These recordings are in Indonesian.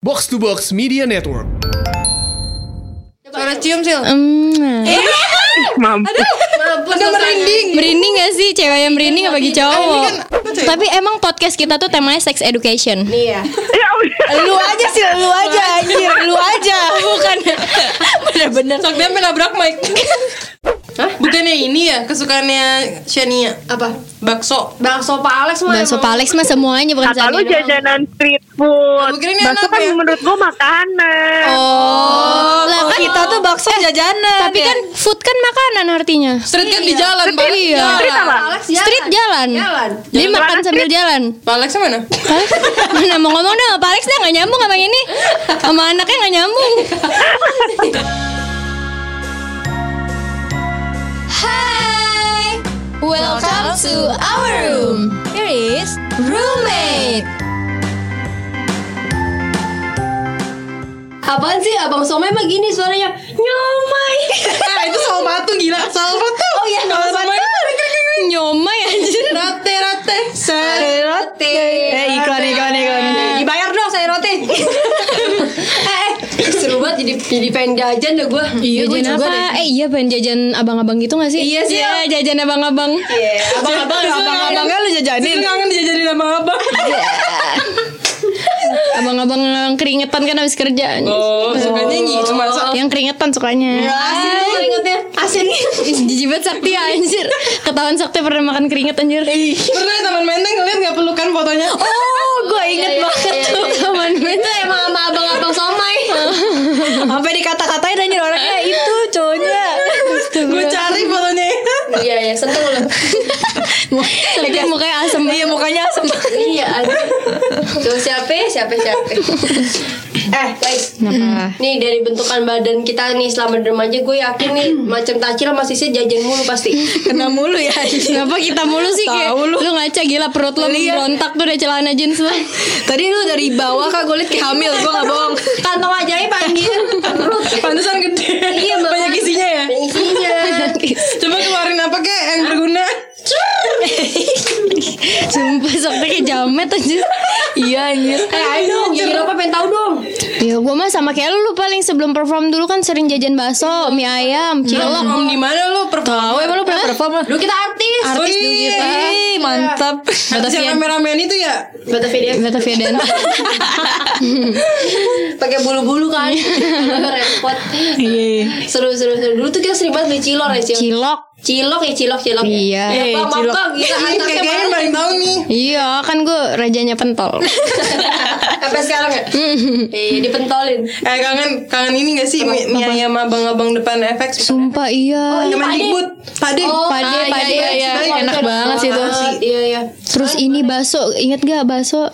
Box to Box Media Network. Suara cium sih. Hmm. Mampus udah merinding. Merinding gak sih cewek yang merinding apa bagi cowok? kan- apa tuh ya? Tapi emang podcast kita tuh temanya sex education. Iya. lu aja sih lu aja anjir lu aja bukan bener-bener Sok dia sampai nabrak mic. Hah? Bukannya ini ya kesukaannya Shania? Apa? Bakso. Bakso Pak Alex mah. Bakso Palex Nah, mah semuanya bukan Kata Zania lu doang. jajanan street food. Nah, mungkin ini Bakso enak kan ya. menurut gua makanan. Oh, lah kan kita tuh bakso jajanan tapi kan food kan makanan artinya. Street kan di jalan Pak. Iya. Street apa? Street jalan. Jalan. Jadi Jalan makan street. sambil jalan. Pak Alex mana? Palex, mana mau ngomong dong, Palex dah nggak nyambung sama ini, sama anaknya nggak nyambung. Hai, welcome to our room. Here is roommate. Apaan sih Abang Somai mah gini suaranya Nyomai Ah itu soal batu gila. Soal batu. Oh iya Soal batu. Nyomai anjir. Rate rate. Sare. roti eh iklan iklan iklan dibayar dong saya roti Eh eh Seru banget jadi, jadi pengen jajan deh gue Iya, jajan apa? Eh iya pengen jajan abang-abang gitu gak sih? Iya sih Iya, jajan abang-abang abang-abang abang-abangnya lu jajanin Kangen dijajanin sama abang. Abang-abang yang keringetan kan habis kerja Oh, sukanya gitu masa. Iya, Yang keringetan sukanya asin lu ingetnya asin Jijibat sakti anjir Ketahuan sakti pernah makan keringet anjir Pernah ya, teman menteng ngeliat nggak pelukan fotonya? Oh gue inget banget tuh Teman itu emang sama abang-abang somai sampai dikata-katain dan orangnya itu cowoknya Gue cari fotonya. Iya iya sentuh loh Tapi mukanya asem iya mukanya asem Iya aduh. Tuh siapa ya? siapa siapa eh Guys Kenapa? Nih dari bentukan badan kita nih selama di remaja Gue yakin nih macam tacil masih sih jajan mulu pasti Hmm. kena mulu ya Kenapa kita mulu sih kayak Tahu lu. lu. ngaca gila perut lu berontak tuh udah celana jeans lu tadi lu dari bawah kak gue liat kayak hamil gue nggak bohong Kantong ajaib anjir Perut Pantesan gede. Iya, Mbak. Banyak isinya ya. Iya. Isinya Coba keluarin apa kek yang berguna? Sumpah sakti kayak jamet anjir Iya anjir Eh ayo Iya, Jadi apa pengen tau dong Ya gue mah sama kayak lu, lu paling sebelum perform dulu kan sering jajan bakso, mie ayam, cilok Om di mana lu? Pertawa emang lu pernah perform? Dulu kita artis Artis iya, dulu kita Iya. Ih, mantap Yang Batavia rame-ramean itu ya? Batavia Batavia dan pakai bulu-bulu kan Iya. repot Iya. seru seru seru dulu tuh kita sering banget beli cilor ya cilok cilok cilok ya cilok cilok Iya. ya, Eh, bang bang, cilok. bang Ini kita anaknya kayaknya baru paling tahu nih. Iya kan gue rajanya pentol sampai sekarang ya eh dipentolin Eh kangen kangen ini gak sih mie, mie ayam abang-abang depan FX? Sumpah iya Teman Pade. dikbud Pade. Oh, Pade, pade, iya. Enak banget sih itu. Ah, iya iya Terus ini bakso, inget gak bakso?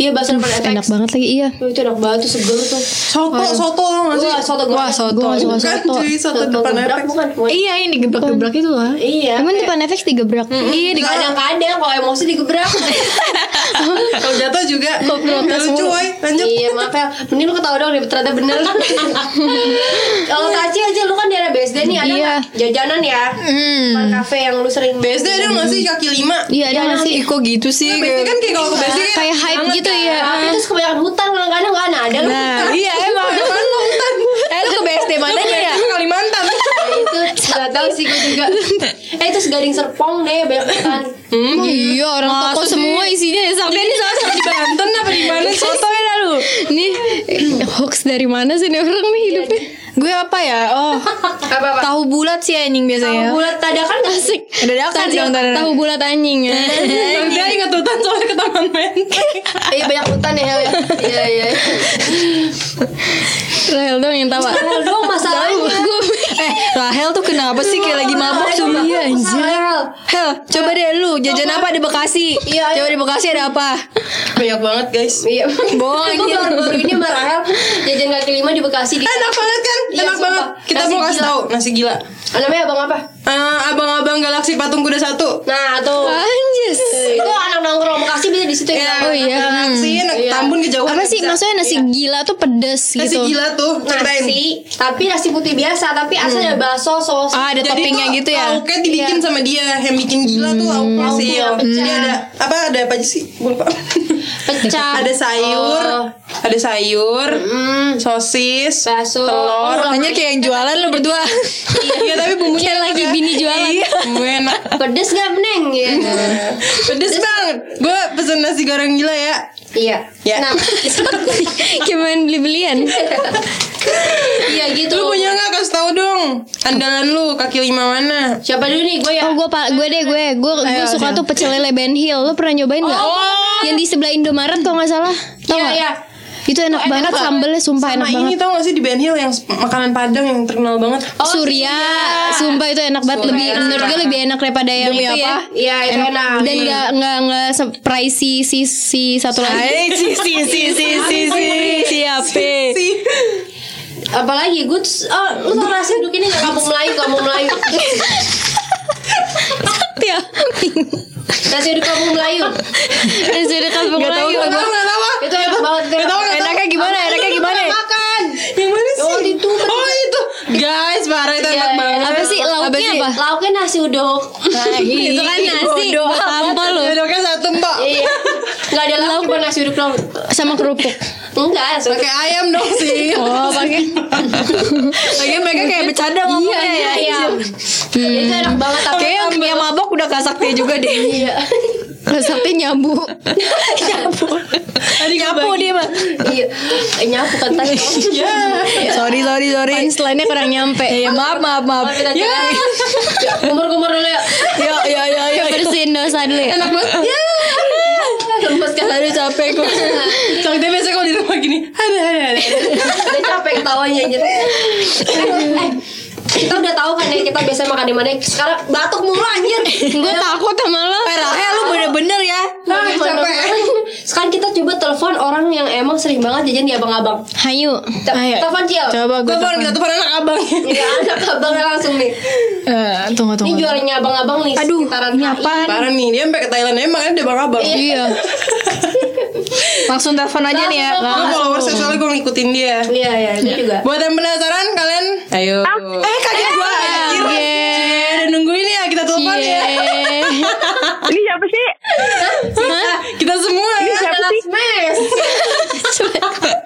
iya bahasa depan efek Enak banget lagi, iya Oh, itu enak banget tuh seger tuh Soto, soto lo gak sih? wah soto goreng Wah, soto. Gua Bukan, nggak suka Bukan soto. cuy, soto soto depan gebrak FX. bukan Wah, Iya ini gebrak-gebrak itu lah iya Emang depan efek digebrak Iya di kadang-kadang kalau emosi digebrak Kalau jatuh juga. Kok protes lucu mulu? woy. Lanjut. Iya maaf ya Mending lu ketawa dong Ternyata bener Kalau Taci aja Lu kan daerah BSD nih Ada Iya. nggak jajanan ya Hmm. Tempat kafe yang lu sering BSD ada gak sih kaki lima? Iya ada gak Ih, sih? kok gitu sih BSD kan kayak kalau ke BSD kan Kayak hype gitu ya Tapi terus kebanyakan hutan Kadang-kadang gak ada Ada lu hutan. nah iya emang Apaan lo hutan? Iya. eh lu ke BSD mananya ya Itu Kalimantan. Nah, Itu Gak tau sih gue juga Eh itu segading serpong deh Banyak hutan Emang iya orang toko semua isinya ya Sakti ini salah Di Banten apa di mana sih? Soto ya lu Nih hoax dari mana sih nih orang nih hidupnya Gue apa ya? Oh, Apa-apa tahu bulat sih anjing biasanya. Bulat kan? dadakan gak sih Ada dakan dong tadi. Tahu bulat anjing ya Dia ingat hutan soalnya ke Taman Menteng. Iya banyak hutan ya Hel, ya. Iya iya Rahel dong yang tawa Hel dong masalahnya Eh, Rahel tuh kenapa sih kayak ya, lagi mabok cuma iya anjir. Hel Hel, coba deh lu jajan apa di Bekasi? Iya, Coba di Bekasi ada apa? Banyak banget guys. Iya Bohong, Gue iya. baru-baru ini sama Rahel Jajan kaki lima di Bekasi di Enak banget kan? Iya, Enak sumpah. banget. Kita Nasi mau kasih gila. tahu nasi gila. Namanya abang apa? Eh, abang-abang galaksi patung kuda satu. Nah tuh Anjis itu anak nongkrong Bekasi bisa di situ ya. Ya, Oh, iya. Galaksi enak Tambun kejauhan. Apa sih bisa. maksudnya nasi gila tuh pedes Nasi gitu gila tuh ceritain. Nasi, tapi nasi putih biasa, tapi asalnya bakso, saus. Ah, ada toppingnya tuh gitu ya. lauknya dibikin sama dia yang bikin gila tuh lauknya sih. Lauknya Jadi ada apa ada apa aja sih? Gue lupa. pecah. ada sayur, ada sayur, sosis, Bakso. telur. Makanya kayak yang jualan lo berdua. Iya tapi bumbunya Kayak lagi bini jualan. Iya, bumbunya enak. Pedes gak meneng ya? Pedes banget. Gue pesen nasi goreng gila ya. Iya. Ya. Nah, Kayak main beli-belian. iya gitu. Lu punya nggak kasih tau dong andalan lu kaki lima mana? Siapa dulu nih gue ya? Oh gue pak gue deh gue gue gue suka tuh pecel lele Ben Hill. Lo pernah nyobain nggak? Yang di sebelah Indomaret kalau nggak salah. Tau Iya, nggak? iya. Itu enak banget sambelnya sumpah Sama enak ini banget. tau gak sih di Ben Hill yang s- makanan Padang yang terkenal banget. Surya, sumpah itu enak banget lebih menurut gue lebih enak daripada yang itu ya. Iya, itu enak. Dan nggak nggak nggak se- pricey si si satu lagi. Hai, si si si si si si siapa? Si Apalagi gue tuh- oh lu tau nasi duduk ini nggak kampung Melayu kampung Melayu Ya. nasi duduk kampung Melayu Dan sudah kampung Nggak tahu Melayu. nggak tahu. nggak tahu ah. itu enak banget itu enak banget. Enaknya gimana? Enaknya gimana? makan yang mana sih? Oh, itu. Oh, itu. Guys, parah itu Ya, Iya, enak iya, banget. Apa sih lauknya apa? lauknya nasi uduk gitu Itu kan nasi bodoh buat apa lo? Jodohnya satu mbak. Ya, iya nggak ada lauk cuma nasi uduk doang Sama kerupuk. enggak nasi uduk. Pakai ayam dong sih. Oh, pakai. Lagi mereka kayak bercanda ngomongnya ya. iya itu enak banget tapi Kayak yang, yang mabok udah kasakti juga deh. iya Resepnya nyambu. Tadi nyapu dia mah. iya Eh, nyapu kan tadi Ya. Sorry sorry sorry. Punchline-nya kurang nyampe. Ya, ya maaf maaf maaf. Tapi tadi kumur-kumur dulu ya Yo yo yo yo. Bersihin dosa dulu ya. enak banget ya lemes kan Aduh capek gue. Soalnya biasanya kalau di rumah gini. Ada ada ada. Udah capek ketawanya anjir. Eh, eh, kita udah tahu kan ya kita biasa makan di mana. Sekarang batuk mulu anjir. Gue takut sama lo. Eh Rahel lu bener-bener ya. Ah, capek. Sekarang kita coba telepon orang yang emang sering banget jajan di abang-abang. Hayu. Te- Telepon Ciel. Coba gue Telepon kita telepon anak abang. Ya, anak abangnya langsung nih. Eh, tunggu Ini tunggu. juaranya abang-abang nih. Aduh, sekitaran ini HI. apaan? Parah nih dia sampai ke Thailand emang ada bang abang. Ya, Iya. Langsung telepon aja nih ya. Gue followers soalnya gue ngikutin dia. Iya, iya, itu juga. Buat yang penasaran kalian, ayo. Eh kaget gue. anjir. Cie, udah nungguin ya kita telepon Iya. ya. Ini siapa sih? Kita semua ya. Siapa sih?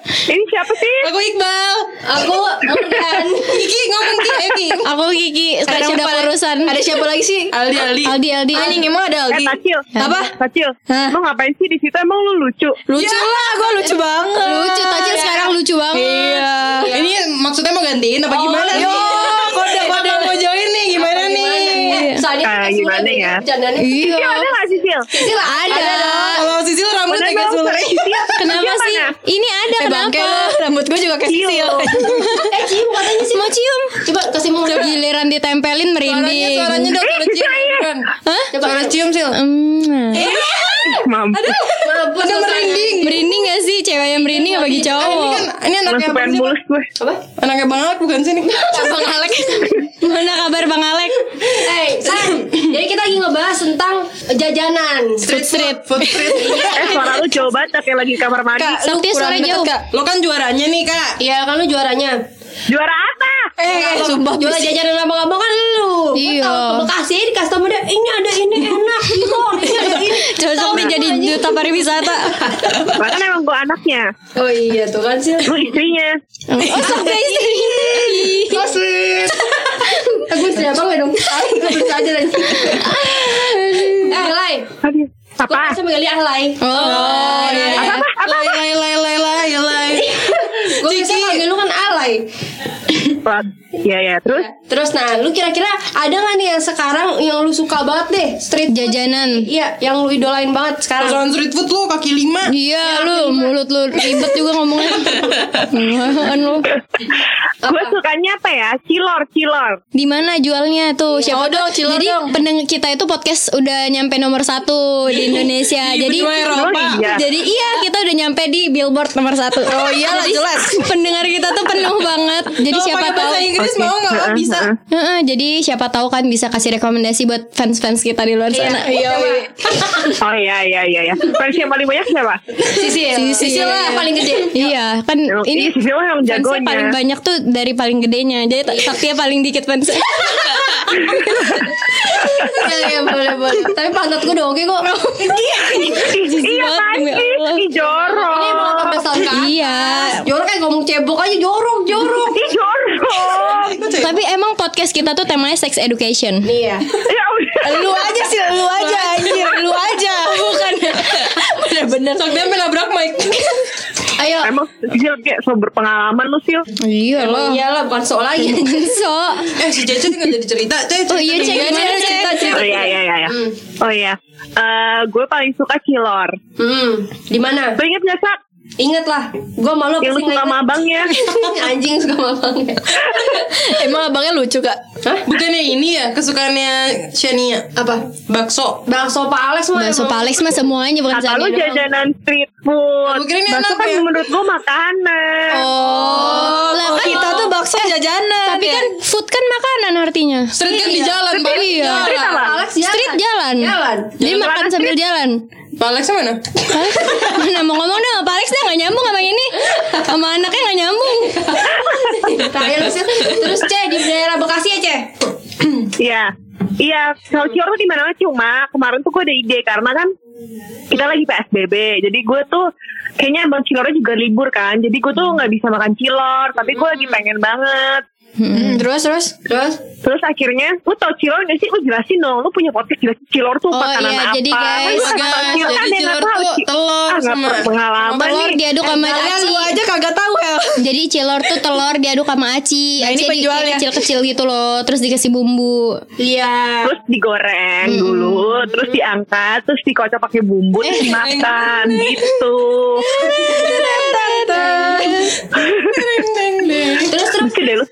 Ini siapa sih? Aku Iqbal. Aku Morgan. Kiki ngomong Ki, ayo Ki. Aku Kiki Ada sekarang siapa udah lagi? urusan. Ada siapa lagi sih? Aldi Aldi. Aldi Aldi. Anjing emang ada Eh, Aldi. Tacil. Apa? Tacil. Hah? Lu ngapain sih di situ? Emang lu lucu? Lucu lah, gue lucu banget. Lucu Tacil sekarang lucu banget. Iya. Ini maksudnya mau gantiin apa gimana Yo, nih? kode kode. Udah mau join nih gimana nih? Eh, Soalnya Ah, kita gimana sudah ya? bercandanya. Cil, ada gak sih, Cil? Cil, ada. Kalau Sisil ya, Udah rambutnya agak dong, sulit. sore Cil. Kenapa Cil sih? mana? Ini ada Eh kenapa? bangke lu, rambut gue juga Iya. kecil. Cil. Eh, cium katanya sih. Mau cium? Coba kasih mau. Giliran ditempelin Suaranya merinding. suaranya dong suara cium. bukan? Hah? Coba. Suara cium Sil. Hmm. Mampus. Mampus Ada lu, merinding. Merinding gak sih cewek yang merinding apa bagi Ini cowok? kan ini anaknya Langsung Bang pengen Sil. mulus gue. Apa? Anaknya Bang Alek bukan sih nih? Bang Alek. Mana kabar Bang Alek? Eh, San, jadi kita lagi ngebahas tentang jajanan. Street street food street. Eh, suara lu jauh banget tapi lagi di kamar mandi. Kak, lu Sakti kurang suara deket, jauh. Kak. Lo kan juaranya nih kak. Iya, kan lu juaranya. Juara apa? Eh, eh, sumpah. Juara jajanan abang-abang kan lu. Gua Iya. tahu Ke Bekasi di customer dia, ini ada ini enak gitu. Ini ada ini. Cocok nih jadi duta pariwisata. Bahkan kan emang gue anaknya. Oh iya tuh kan sih. Lu istrinya. Oh, sampai istri. Kasih. Aku istri abang ya dong. Aku bisa aja lagi. Eh, Lai. Aduh. Gue Apa? pasti manggil dia ah, Lai. Oh, iya. Lay lay lay lay lay lay. Gue bisa manggil lu kan Alay. Plug. Iya, ya. Terus? Terus nah lu kira-kira ada nggak nih yang sekarang yang lu suka banget deh street food? Jajanan. Iya, yang lu idolain banget sekarang. Persoalan street food lo kaki lima. Iya lu mulut lu ribet juga ngomongnya. Apaan lu? Gue sukanya apa ya? Cilor, cilor. Di mana jualnya tuh? Iya, Siapa dong? Jadi pendeng kita itu podcast udah nyampe nomor satu di Indonesia. jadi benua Eropa. Oh, iya. jadi iya kita udah nyampe di billboard nomor satu. Oh iyalah, jelas. Pendengar kita tuh penuh banget. Jadi Kalau siapa Oh, pakai tahu. bahasa Inggris mau nggak lo Heeh, bisa? heeh. Heeh, jadi siapa tahu kan bisa kasih rekomendasi buat fans-fans kita di luar sana. Iya, weh. Oh iya iya iya iya. Versi yang paling banyak siapa? Sisi. Sisi lah yang paling gede. Iya, kan Emang- ini iya, Sisil emang fansnya jagonya. paling banyak tuh dari paling gedenya. Jadi ta- taktia paling dikit fans. Iya, iya, boleh, boleh. Tapi pantat gue udah oke kok. Iya banget, kan demi Allah. sih, jorok. Ini mau 18 tahun kan? iya. Jorok kayak ngomong cebok aja, jorok, jorok. Ih jorok. Tapi emang podcast kita tuh temanya sex education. Nih ya. Ya udah. Lu aja sih, lu aja anjir, lu aja bukan. Bener-bener. Sok dia menabrak mic. Ayo. Emang Sil kayak so berpengalaman lu Sil. Iya Emang iyalah, bukan soal lagi. So, eh si Cece nggak jadi cerita. Cece. oh iya cek gimana cerita cerita. Oh iya iya iya. iya. Oh iya. Eh, gue paling suka cilor. Hmm, di mana? Lo inget gak Sak? Ingat lah, gue malu Yang lu suka sama abangnya. Anjing suka mabang. Emang abangnya lucu kak? Hah? Bukannya ini ya kesukaannya Shania Apa? bakso. Bakso Pak Alex mah. Bakso emang. Palex mah semuanya bukan Kata Zania lu doang. jajanan street food. Aku kira ini Bakso enak kan ya. menurut gue makanan. Oh, Lah, kan- kita tuh bakso jajanan. Tapi ya? Iya. kan food kan makanan artinya. Eh, Street kan di jalan, Pak. Iya. Street Pak apa? Alex ya? jalan. Street jalan. Jalan. Jadi Jalan makan street. sambil jalan. Pak Alex mana? Palex, mana mau ngomong dong? Palex dah nggak nyambung sama ini, sama anaknya nggak nyambung. Terakhir sih. Terus C di daerah Bekasi ya C. Iya. Iya, kalau cilor tuh di mana mana cuma kemarin tuh gue ada ide karena kan kita lagi PSBB. Jadi gue tuh kayaknya emang cilornya juga libur kan. Jadi gue tuh nggak bisa makan cilor, tapi gue lagi Hmm. pengen banget. Hmm, terus terus. Terus Terus akhirnya lu tau cilor gak sih? Lu jelasin dong. Lu punya podcast jelasin cilor tuh Oh, makanan iya, apa? jadi Kan guys, lu kasih tau guys, cilor kan jadi dia nggak cilor tahu, tuh Ci. telur Ah, nggak sama- pengalaman Telur nih. diaduk sama Kalian aci. lu aja kagak tahu ya. Hel. Jadi cilor tuh telur diaduk sama aci. Nah, ini Aci di- penjualnya. kecil-kecil gitu loh, terus dikasih bumbu. iya. Terus digoreng dulu, terus diangkat, terus dikocok pakai bumbu, terus Eh, dimakan gitu. Terus terus Oke deh lu.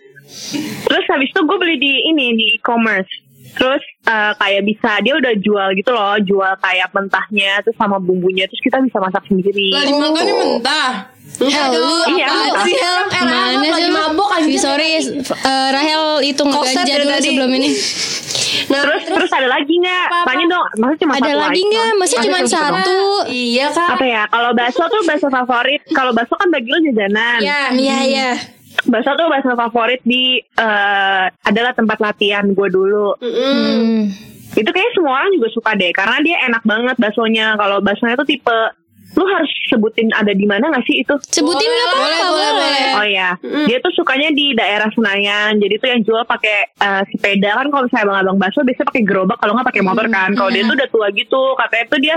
Terus habis itu gue beli di ini di e-commerce. Terus eh, kayak bisa dia udah jual gitu loh, jual kayak mentahnya terus sama bumbunya terus kita bisa masak sendiri. Lah Oh. dimakannya mentah. Hel, lu iya, apaan apa? sih Hel? Eh, Rahel, Mana lagi sih lu? mabok, anjir. Ih, Sorry, eh, Rahel itu ngeganja dari dulu tadi. sebelum ini. nah Terus, terus ada lagi nggak? Tanya dong, maksudnya cuma Ada satu lagi item. nggak? Masih cuma satu doang. satu. iya Apa Kak. ya? Kalau bakso tuh bakso favorit. Kalau bakso kan bagi lu jajanan. Iya. Iya iya. Bakso tuh bakso favorit di eh, adalah tempat latihan gue dulu. Hmm. Itu kayaknya semua orang juga suka deh karena dia enak banget baksonya. Kalau baksonya tuh tipe lu harus sebutin ada di mana nggak sih itu? Sebutin nggak apa-apa, boleh, boleh, boleh. Oh iya, dia tuh sukanya di daerah Senayan. Jadi tuh yang jual pakai eh, sepeda kan kalau misalnya abang-abang bakso biasanya pakai gerobak kalau nggak pakai motor kan. Kalau dia tuh udah tua gitu, katanya tuh dia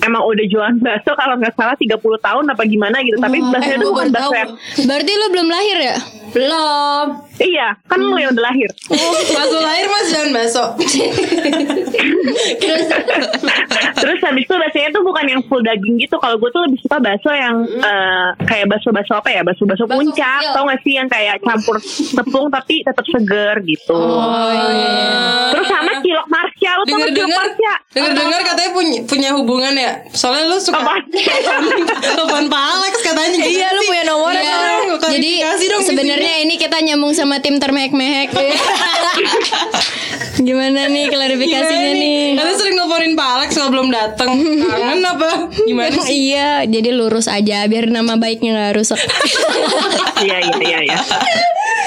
emang udah jualan bakso kalau nggak salah 30 tahun apa gimana gitu. Tapi Iya, Eh, baksonya kan tuh bukan bakso yang Berarti lu belum lahir ya? Belum. iya, kan lu yang udah lahir. Bakso lahir mas jangan bakso. Terus Terus habis itu baksonya tuh bukan yang full daging gitu. Kalau gue tuh lebih suka bakso yang eh, kayak bakso-bakso apa ya? Bakso-bakso puncak, kecil. tau gak sih yang kayak campur tepung tapi tetap seger gitu. Oh, iya. Terus sama cilok Marsha, lu tau Dengar gak cilok dengar. Marsha? Dengar dengar katanya punya punya hubungan ya. Soalnya lu suka. Apa? Telepon Pak Alex katanya. Iya lu punya nomornya. Iya. kan? dong, Jadi klarifikasi dong di sebenarnya ini kita nyambung sama tim termehek-mehek. Gimana nih klarifikasinya nih? Karena Iya, sering nelfonin Pak Alex kalau belum datang. Kangen apa? Gimana Emang sih? iya, jadi lurus aja biar nama baiknya nggak rusak. Iya, iya, iya, iya.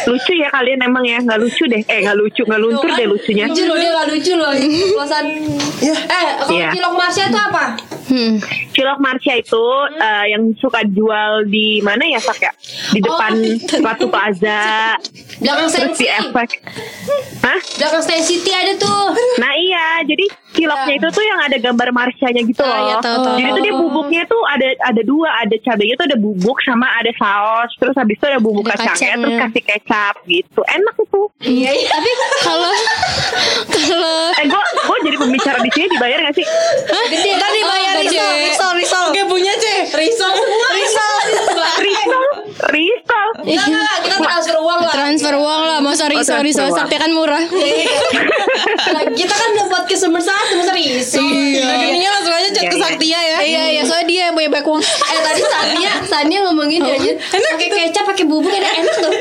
Lucu ya kalian emang ya, nggak lucu deh. Eh, nggak lucu, nggak luntur deh Iya. lucunya. lucu loh dia nggak lucu loh. Pelosan. Eh, kalau Iya. cilok Marsha itu apa? Hmm. Cilok Marsha itu Hmm. eh, yang suka jual di mana ya, Sak ya? Di depan Ratu Plaza, Oh, Belakang terus Stand di City. efek. Hah? Belakang Stand City ada tuh. Nah iya, jadi ciloknya itu tuh yang ada gambar marsianya gitu loh. Ah, iya, tahu, tahu, jadi tuh dia bubuknya tuh ada ada dua, ada cabenya tuh ada bubuk sama ada saus, terus habis itu ada bubuk Ada kacangnya, kacangnya. terus kasih kecap gitu. Enak itu. Iya, iya. Tapi kalau kalau Eh gue gue jadi pembicara di sini dibayar gak sih? Gede. Ntar dibayar Oh, risol, gede. risol, risol. Oke punya C. Risa semua. Risol. Ristol, Ristol. Enggak, enggak, enggak, Iya. kita transfer uang lah. transfer uang lah, mau sorry Oh, sorry transfer sorry, uang. sakti kan murah. Lah, kita kan udah podcast nomor satu, nomor iso. Iya. Rekeningnya langsung aja chat Iya, ke iya. Saktia ya. Iya iya, soalnya dia yang punya banyak uang. Eh tadi Sania, Sania ngomongin dia aja pakai kecap, pakai bubuk ada enak tuh.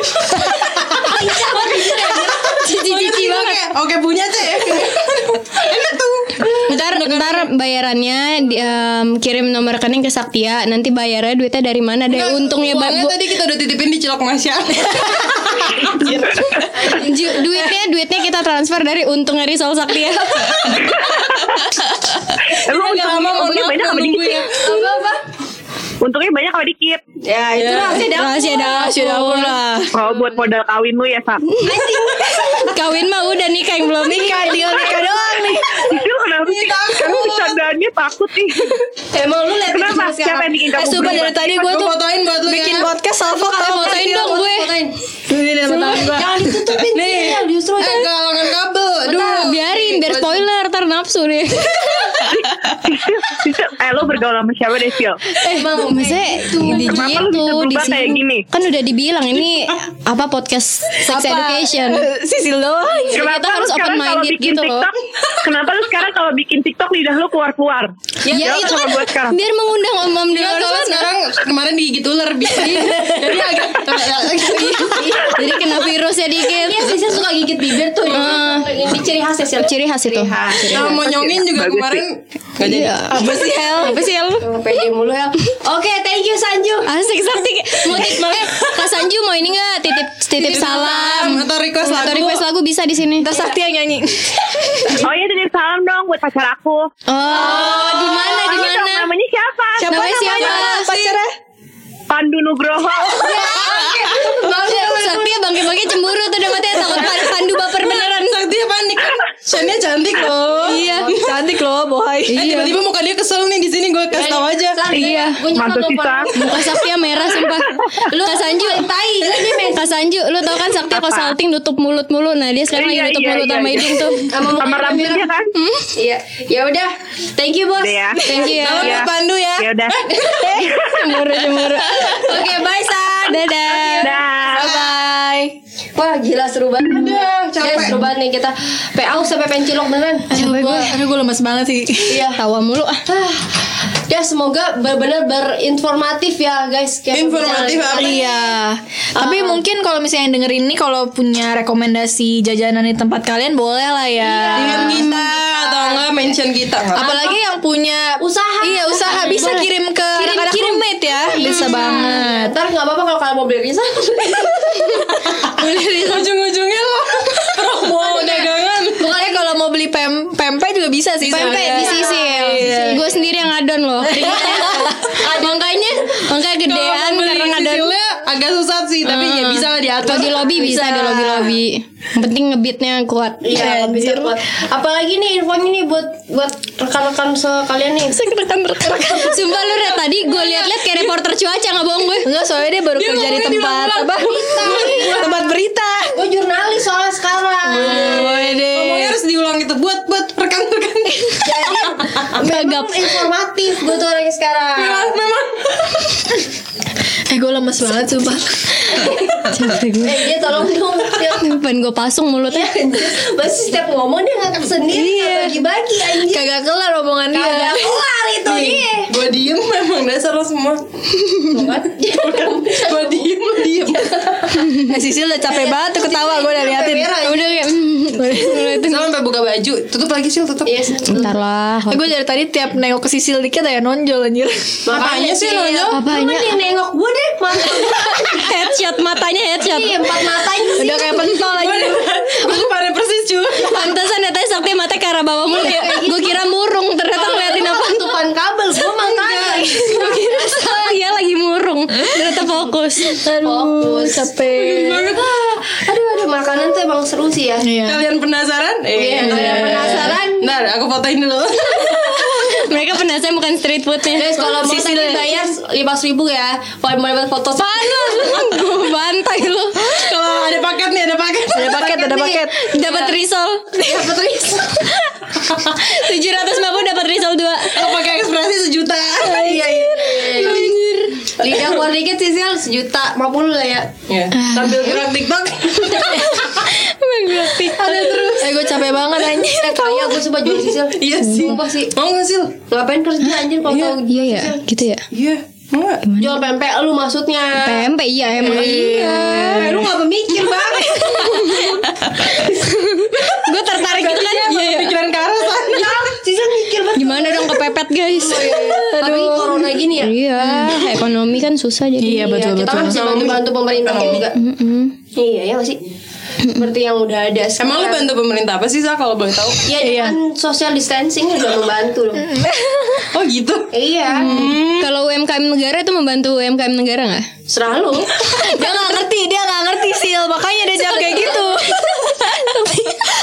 Kecap banget. Iya, Cici cici banget. Oke punya C. Enak tuh. ntar ntar bayarannya di- em, kirim nomor rekening ke Saktia. Nanti bayarnya duitnya dari mana? Dari untungnya ba- uangnya bu- tadi kita udah titipin di cilok Masya. Ya ju- duitnya duitnya kita transfer dari untungnya dari Sol Saktia. Emang Agak lama mau untungnya, untungnya banyak apa nunggu dikit? ya. Apa-apa? Untungnya banyak apa dikit? Ya itu Ya. rahasia dapur. Rahasia dapur. Rahasia dapur lah. Kalau buat modal kawin lu ya, Sam. Kawin mah udah nikah yang belum nikah. Nikah tinggal nikah doang nih. Itu kenapa sih? Kamu bercandaannya takut nih. Emang lu lihat itu Kenapa? cuma Siapa sekarang. yang bikin Eh kamu sumpah dari berubah? tadi gue Gue tuh fotoin buat lu bikin ya. podcast Salvo kalau Fotoin Iya, dong gue. Fotoin. Ini dia tangan gue. Jangan ditutupin Nih. Iya, justru Eh galangan kabel. Aduh. Biarin biar spoiler ntar nafsu deh. Sisil, eh lu bergaul sama siapa deh, Sil? Emang Maksudnya di Kenapa gitu lu di bisa berubah kayak sini gini? kan udah dibilang ini apa podcast sex education. Sisil doang. Kenapa harus lu sekarang kalau open-minded bikin gitu loh. TikTok? Kenapa lu sekarang kalau bikin TikTok lidah lu keluar-keluar? Ya, Jawab itu sama kan gua sekarang. biar mengundang om-om di Dia luar soalnya Nah, sana. sekarang kemarin digigit ular Ah, bibi. Jadi agak ya, Jadi kena virusnya dikit. Iya biasanya suka gigit bibir tuh Heeh. Ini ciri khasnya sih Ciri khas itu. Kalau Nah, mau nyongin juga Bagus sih. kemarin Gak jadi Iya. Apa sih Hel? Apa sih El? Pede mulu ya Oke thank you Sanju Asik sakti mau titip eh, Kak Sanju mau ini enggak titip titip salam Atau request lagu atau request lagu bisa di sini. Terus Sakti yang nyanyi. Oh iya, titip salam dong buat pacar aku. Oh, di mana di Kamu tahu mana? iya, namanya siapa? Siapa Namanya namanya? siapa? Pacarnya? Pandu Nugroho. Sakti bangke-bangke cemburu tuh udah matanya takut pan- pandu baper beneran. Sakti panik kan Shania cantik loh Iya. Cantik loh, Iya. boy. Eh tiba-tiba muka dia kesel nih di sini gue kasih tau aja Iya Gue nyokap Mantu sisa. telepon Muka Saktia merah sumpah Lu Kak Sanju Kak Sanju Lu tau kan Saktia consulting nutup mulut mulu Nah dia sekarang Iya, lagi nutup iya, mulut iya, sama iya. hidung tuh Hmm? Sama rambutnya kan? Iya Ya udah Thank you bos Udah ya. Thank you Salam Iya. buat Pandu ya Ya udah. Cemburu-cemburu Oke bye San Dadah Dah. Bye. Wah gila seru banget Aduh, Ya capek. seru banget nih kita PA sampai pencilok beneran Aduh, gue aduh, gue lemes banget sih Iya Tawa mulu ah Ah, Ya semoga benar-benar berinformatif ya guys Kayak Informatif pembicaraan kita. apa? Iya. Tapi mungkin kalau misalnya yang dengerin ini kalau punya rekomendasi jajanan di tempat kalian boleh lah ya. Dengan kita Atau enggak mention kita Apalagi yang punya Usaha. Iya, usaha bisa Boleh. kirim ke anak-anak kirim. Iya. roommate ya. Bisa banget. Ntar nggak apa-apa kalau kalian mau beli riset Ujung-ujungnya lo Promo dagangan Bukannya kalau mau beli pem pempe juga bisa sih. Pempek sebenarnya. di sisil Iya. Gue sendiri yang ngadon loh Makanya Makanya Kalau gedean mau beli Karena ngadon sisilnya agak susah sih Tapi Ah. ya bisa lah diatur Kalau di lobby bisa Di lobby-lobby Yang penting ngebeatnya kuat Iya, bisa buat. Apalagi nih infonya nih buat buat rekan-rekan sekalian nih. Rekan-rekan. Sumpah lu Red, tadi gue liat-liat kayak reporter cuaca Gak bohong gue Enggak, soalnya dia baru kerja di ngomongnya di tempat belakang. apa? Iya. tempat berita. Gue jurnalis soalnya sekarang. Wede. Ngomongnya harus diulang itu Buat buat rekan-rekan Eh, Jadi memang informatif gue tuh orangnya sekarang. Memang Memang Eh, gue lemes banget sumpah. Eh dia tolong dong. Sil. Pengen gue pasung mulutnya Masih setiap ngomong dia ngangkat sendiri nggak bagi-bagi anjir. Iya. Kagak kelar omongan dia. Kagak kelar itu Iya. iya. dia. Gue diem memang dasar lo semua Tuh kan. Gue diem lo diem Eh, Iya, Sisil udah capek banget tuh ketawa gue udah liatin. Udah kayak mm, Sama sampai buka baju Tutup lagi sih tutup Iya sih. Bentar lah Eh, gue dari tadi tiap nengok ke Sisil dikit ya nonjol anjir. Iya. Makanya sih nonjol Cuman Apanya dia nengok gue deh mantap. Headshot matanya headshot Iya empat matanya sih. Udah kayak pentol lagi. Aku pada persis cuy Iya. Pantesan datanya sakti mata ke arah bawah Iya, mulu Gue kira murung Ternyata Oh. ngeliatin apa Tutupan kabel gue makanya. Gue kira salah Dia Oh, iya, lagi murung Ternyata fokus Oh. Aduh, capek. Ah, Aduh aduh makanan tuh emang seru sih ya. Iya. Kalian penasaran? Iya, Eh. kalian penasaran? Ntar aku fotoin dulu Mereka penasaran bukan street foodnya ya. Guys kalau mau tadi ya. bayar lima ribu ya Kalau mau dapat foto Iya. Panas Gue bantai lu Kalau ada paket nih ada paket Ada paket, ada paket. Dapat risol Dapat risol 750 dapat risol 2 Aku pakai ekspresi sejuta Iya iya Lidah keluar dikit sih Sil Sejuta Mampu lu lah ya Iya. Sambil gerak tiktok Ada terus. Eh, gue capek banget anjir. Eh kaya gue sumpah jual sih Sil Iya sih Sumpah sih Mau gak sih? Ngapain kerja anjir kalau tau Iya ya gitu ya Iya Mau gak? Jual pempek lu maksudnya PMP iya emang Iya Eh, Lu gak pemikir banget Gue tertarik gitu kan Iya, Pikiran ke arah sana Sisa mikir guys. iya, Tapi corona gini ya. Iya, ekonomi kan susah Iya jadi. betul kita kan betul. bisa bantu-bantu pemerintah juga. Mm-mm. Iya ya sih. Seperti yang udah ada. Emang lu sekarang. bantu pemerintah apa sih Sa kalau boleh tahu? Iya, kan social distancing juga membantu loh. Oh gitu. iya, Kalau UMKM negara itu membantu UMKM negara nggak? selalu. dia nggak ngerti, dia nggak ngerti sil, makanya dia jawab kayak gitu.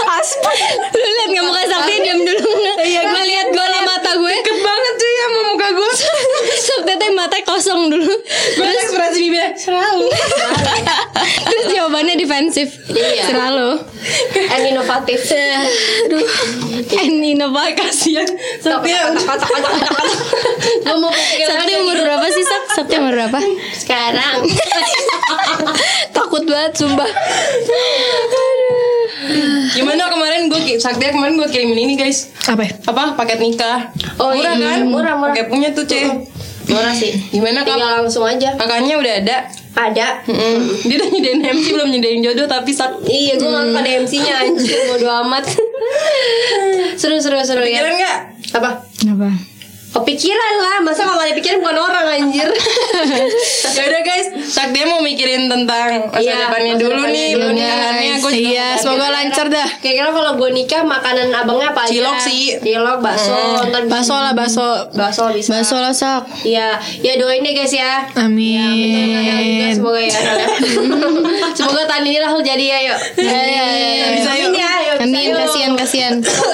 Aspen. Lu liat nggak muka Sakti diam dulu Iya gue liat gue liat mata gue Deket banget cuy sama muka gue Sakti teh mata kosong dulu Gue ekspresi bibirnya selalu. Terus jawabannya defensif Iya. Selalu And inovatif. And inovasi kasihan Tapi ya, Gue mau pikir Sakti umur gitu. berapa sih Sak? Sakti umur berapa? sekarang. Takut banget sumpah. gimana kemarin gue Saktia kemarin gue kirimin ini guys. Apa? ya? Apa paket nikah? Oh, murah iya. kan? Murah, murah. Pakai punya tuh ceh. Murah sih. Gimana kak? Tinggal langsung aja. Kakaknya udah ada. Ada. Mm-mm. Dia udah nyediain MC belum nyediain jodoh tapi sak. Iya, gue nggak pada MC-nya anjir, bodo amat. seru seru seru ya. Kira nggak? Apa? Kenapa? Kepikiran lah, masa kalau ada pikiran bukan orang anjir. Ya udah guys, Saktia mau mikirin tentang masa Iya, depannya masa dulu depannya nih dulu, pernikahannya. Gue juga Iya, semoga lancar dah. Kira-kira kalau gue nikah makanan abangnya apa aja? Cilok sih. Cilok, Mm. bakso, ntar Bakso lah bakso. bakso bisa. Bakso lah Sak Iya, ya doain deh guys ya. Amin. Amin. Semoga ya. Semoga tahun ini Rahul jadi ya yuk. Iya, iya, iya. Bisa, yuk. Amin ya. yuk, bisa, Amin yuk. kasihan kasihan